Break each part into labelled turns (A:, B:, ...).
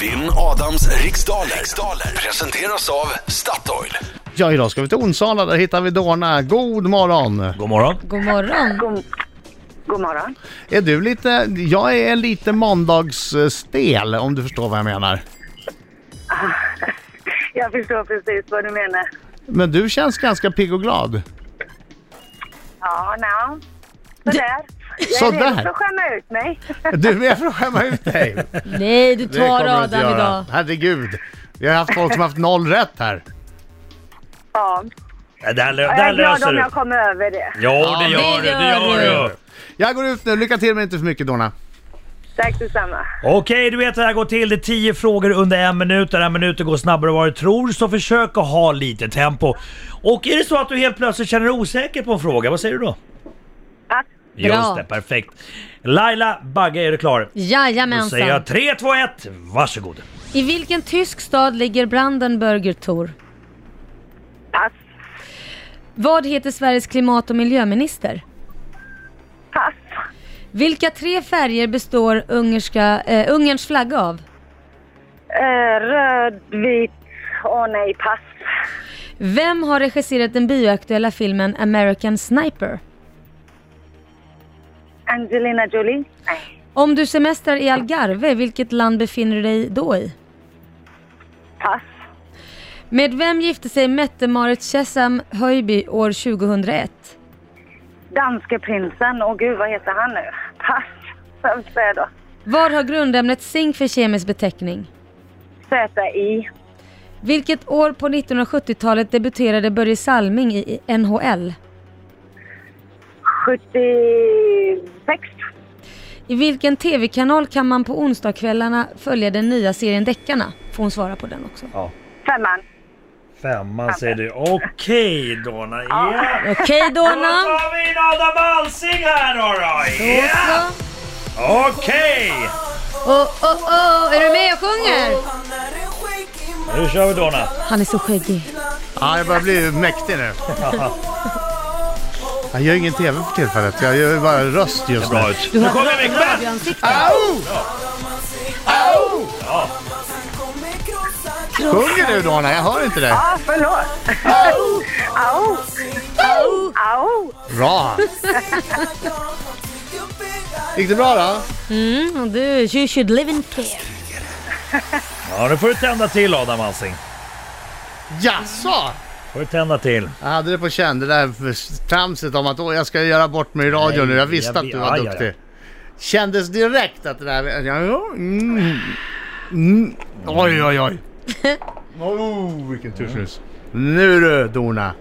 A: Vinn Adams riksdaler. riksdaler presenteras av Statoil.
B: Ja, idag ska vi till Onsala. Där hittar vi Dorna. God morgon!
C: God morgon.
D: God morgon.
E: God, god morgon.
B: Är du lite... Jag är lite måndagsstel, om du förstår vad jag menar.
E: Jag förstår precis vad du menar.
B: Men du känns ganska pigg och glad.
E: Ja, no. Sådär. Jag är
B: Sådär.
E: redo för att skämma ut mig.
B: Du är för att skämma ut dig.
D: Nej, du
B: Det kommer
D: tar
B: du inte
D: Adam
B: göra.
D: idag.
B: Herregud. Vi har haft folk som haft noll rätt här.
E: Ja.
C: Ja, Där, lö-
E: Jag
C: där
E: är glad
C: löser
E: om
C: du.
E: jag kommer över det.
C: Ja, det gör du.
D: det
C: Det
D: gör
C: gör
D: du.
C: du.
B: Jag går ut nu. Lycka till men inte för mycket Dorna.
E: Tack detsamma.
C: Okej, du vet hur det här går till. Det är tio frågor under en minut. Den här minuten går snabbare än vad du tror, så försök att ha lite tempo. Och är det så att du helt plötsligt känner dig osäker på en fråga, vad säger du då?
E: Tack.
C: Just det, perfekt. Laila Bagge, är du klar? Då säger
D: Jajamensan.
C: jag 3, 2, 1, varsågod.
D: I vilken tysk stad ligger Brandenburger Tor?
E: Pass.
D: Vad heter Sveriges klimat och miljöminister?
E: Pass.
D: Vilka tre färger består ungerska, eh, Ungerns flagga av?
E: Eh, röd, vit. Åh nej, pass.
D: Vem har regisserat den bioaktuella filmen American Sniper?
E: Angelina Jolie? Nej.
D: Om du semestrar i Algarve, vilket land befinner du dig då i?
E: Pass.
D: Med vem gifte sig Mette-Marit Chesham Höjby år 2001?
E: Danske prinsen. Åh gud, vad heter han nu? Pass. Vem säger jag då?
D: Vad har grundämnet zink för kemisk beteckning?
E: Z-I.
D: Vilket år på 1970-talet debuterade Börje Salming i NHL?
E: 76.
D: I vilken tv-kanal kan man på onsdagskvällarna följa den nya serien Deckarna? Får hon svara på den också.
E: Femman.
C: Femman säger du. Okej, Donna. Ja.
D: Okej
C: Då
D: Donna!
C: tar vi in Adam Alsing här då. då. Ja. Okej,
D: Oh, oh, oh. Är du med och sjunger?
C: nu kör vi Donna.
D: Han är så skäggig.
B: Ja, jag börjar bli mäktig nu. Jag gör ingen TV för tillfället. Jag gör bara röst just nu.
C: Bra ut. Nu kommer Wickman!
D: Radioansikte.
B: Au! Au! Sjunger du Dorna? Jag hör inte dig.
E: Ja, Ah, förlåt.
B: Au!
E: Au. Au. Au.
B: Bra! Gick det bra då?
D: Mm, och du, you should live in care.
C: Ja, nu får du tända till Adam Alsing.
B: Jaså?
C: får du tända till.
B: Jag hade det på känn, det där tramset om att Åh, jag ska göra bort mig i radio
C: Nej,
B: nu. Jag visste
C: jag
B: att du
C: vet.
B: var
C: Ja, ja,
B: duktig.
C: ja.
B: Kändes direkt att det där... Ja, ja, mm, mm. Oj, oj, oj. Oh, vilken tursus. Nu du, Dona.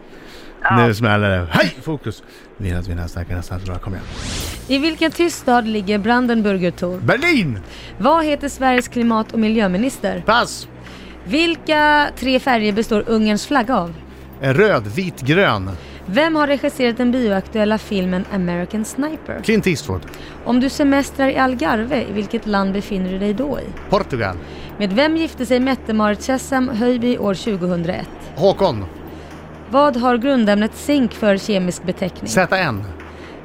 B: Nu smäller det. Hej, fokus. Vi att vinna starka nästan så bra. Kom igen.
D: I vilken tyst stad ligger Brandenburger Tor?
B: Berlin!
D: Vad heter Sveriges klimat och miljöminister?
B: Pass!
D: Vilka tre färger består Ungerns flagga av?
B: En Röd, vit, grön.
D: Vem har regisserat den bioaktuella filmen American Sniper?
B: Clint Eastwood.
D: Om du semestrar i Algarve, i vilket land befinner du dig då i?
B: Portugal.
D: Med vem gifte sig Mette-Marit Chesham Höjby år 2001?
B: Håkon.
D: Vad har grundämnet zink för kemisk beteckning?
B: ZN.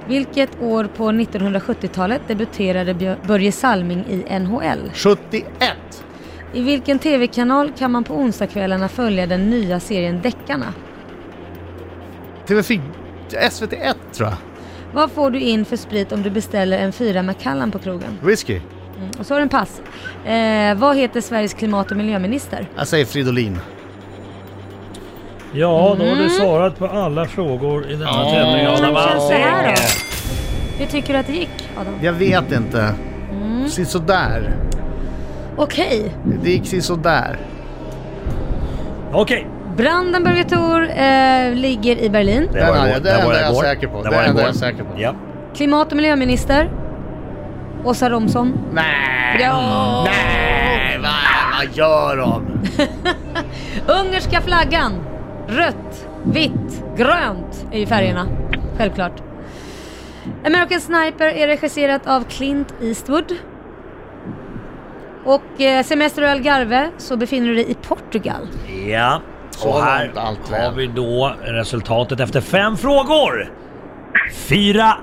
D: Vilket år på 1970-talet debuterade Björ- Börje Salming i NHL?
B: 71.
D: I vilken TV-kanal kan man på onsdagskvällarna följa den nya serien Deckarna?
B: TV4. SVT1 tror jag.
D: Vad får du in för sprit om du beställer en fyra Macallan på krogen?
B: Whisky.
D: Mm. Och så har du en pass. Eh, vad heter Sveriges klimat och miljöminister?
B: Jag säger Fridolin.
C: Ja, då har
D: Mm.
C: du svarat på alla frågor i denna
B: Ja.
C: tävling Adam
D: Hur känns det här
C: Alsing.
D: då? Hur tycker du att det gick Adam?
B: Jag vet inte. Mm. sådär.
D: Okej,
B: Det gick sådär.
C: Okej,
D: Brandenburger Tor eh, ligger i Berlin.
C: det
B: Den
C: var
B: hade
C: igår.
B: jag- den
C: Det var
B: är jag
C: igår.
B: säker på.
C: Det
B: Den
C: var
B: är jag
C: igår.
B: säker på.
C: Ja.
D: Klimat och miljöminister? Åsa Romson.
B: Nej.
D: Ja.
B: Nej, vad, vad gör de?
D: Ungerska flaggan. Rött, vitt, grönt är ju färgerna. Självklart. American Sniper är regisserat av Clint Eastwood. Och eh, Semester i Algarve så befinner du dig i Portugal.
C: ja.
B: Så
C: Och här
B: långt allt
C: har
B: väl.
C: vi då resultatet efter fem frågor. Fyra,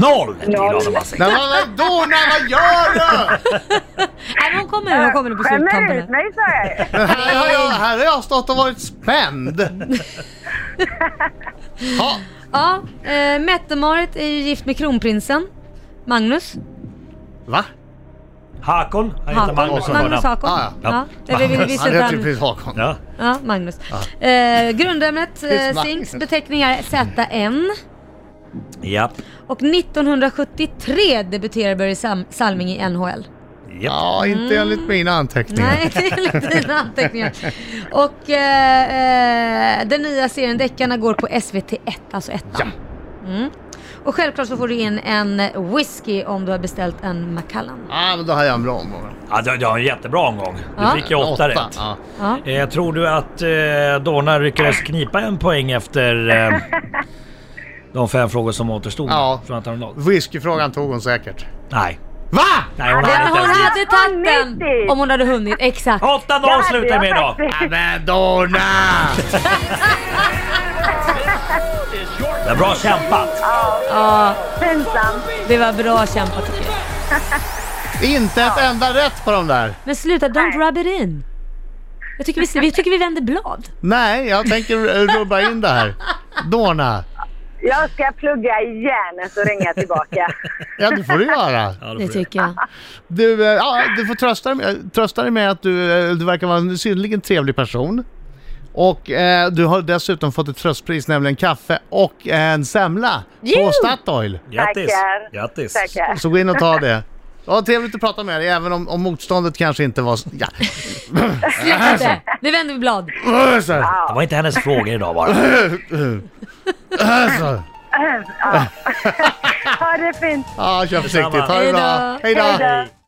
C: Noll till
E: Noll.
C: Adam Alsing.
B: Nej, vad, vad, Dona, vad gör du?
D: Nej, hon kommer nu. Hon kommer nu på
E: Skämmer ut
D: sluttampen.
E: mig sa jag ju.
B: Här har jag, här har jag stått och varit spänd. Ja,
D: Ja, eh, Mette-Marit är ju gift med kronprinsen. Magnus.
B: va?
C: Hakon. Han heter
D: Hakon.
C: Magnus som
D: Magnus
C: förnamn.
D: Hakon.
B: Ah,
C: ja.
D: ja. Eller vi, vi, vi
B: Han heter ju
D: slutar.
B: prins Haakon.
C: Ja.
D: Ja, Magnus. Eh, grundämnet
B: Prins
D: eh, Zinks
B: Magnus.
D: beteckning är ZN.
C: Japp.
D: Och 1973 debuterar Börje Sam- Salming i NHL.
C: Japp.
B: Ja, inte enligt mina anteckningar.
D: Nej, det är enligt dina anteckningar. Och eh, eh, den nya serien Deckarna går på SVT1, alltså ettan. Mm. Och självklart så får du in en whisky om du har beställt en Macallan.
B: Ah, men då har jag en bra omgång.
C: Ja, du, du har en jättebra omgång. Du
D: Ja.
C: fick ju åtta rätt.
B: Ja.
D: Ja.
C: Eh, tror du att eh, Donna lyckades knipa en poäng efter eh, de fem frågor som återstod?
B: Ja.
C: Från att han noll?
B: Whiskyfrågan tog hon säkert.
C: Nej.
B: Va?
C: Nej, hon
D: Ja,
C: hade inte
D: hon
C: ens dit.
D: hade tagit den
E: Hunnit.
D: om hon hade hunnit, exakt.
C: 8-0 slutar med idag.
B: Ja, men Donna!
C: Det är bra kämpat.
E: Pinsamt.
D: Det var bra kämpat tycker jag.
B: Inte ett enda rätt på de där.
D: Men sluta, don't rub it in. Jag tycker vi, vi, tycker vi vänder blad.
B: Nej, jag tänker eh, rubba in det här. Donna,
E: Jag ska plugga igen så ringer jag tillbaka.
B: ja det får du göra.
C: Ja,
D: Det
C: det får du.
D: tycker jag.
B: Du, eh, ja, du får trösta dig, med, trösta dig med att du, eh, du verkar vara en synnerligen trevlig person. Och eh, du har dessutom fått ett tröstpris, nämligen kaffe och en semla
D: Jo!
B: på Statoil.
C: Grattis.
E: Tackar.
C: Grattis.
E: Tackar.
B: Så gå in och ta det. Det var trevligt att prata med dig, även om, om motståndet kanske inte var... så- Ja.
D: Släpp det. Nu vänder vi blad.
B: Så,
C: Det var inte hennes frågor idag bara.
B: så.
E: Ha det fint.
B: Ja, kör försiktigt. Ha det
D: Hej då.
B: bra. Hej då.
E: Hej då.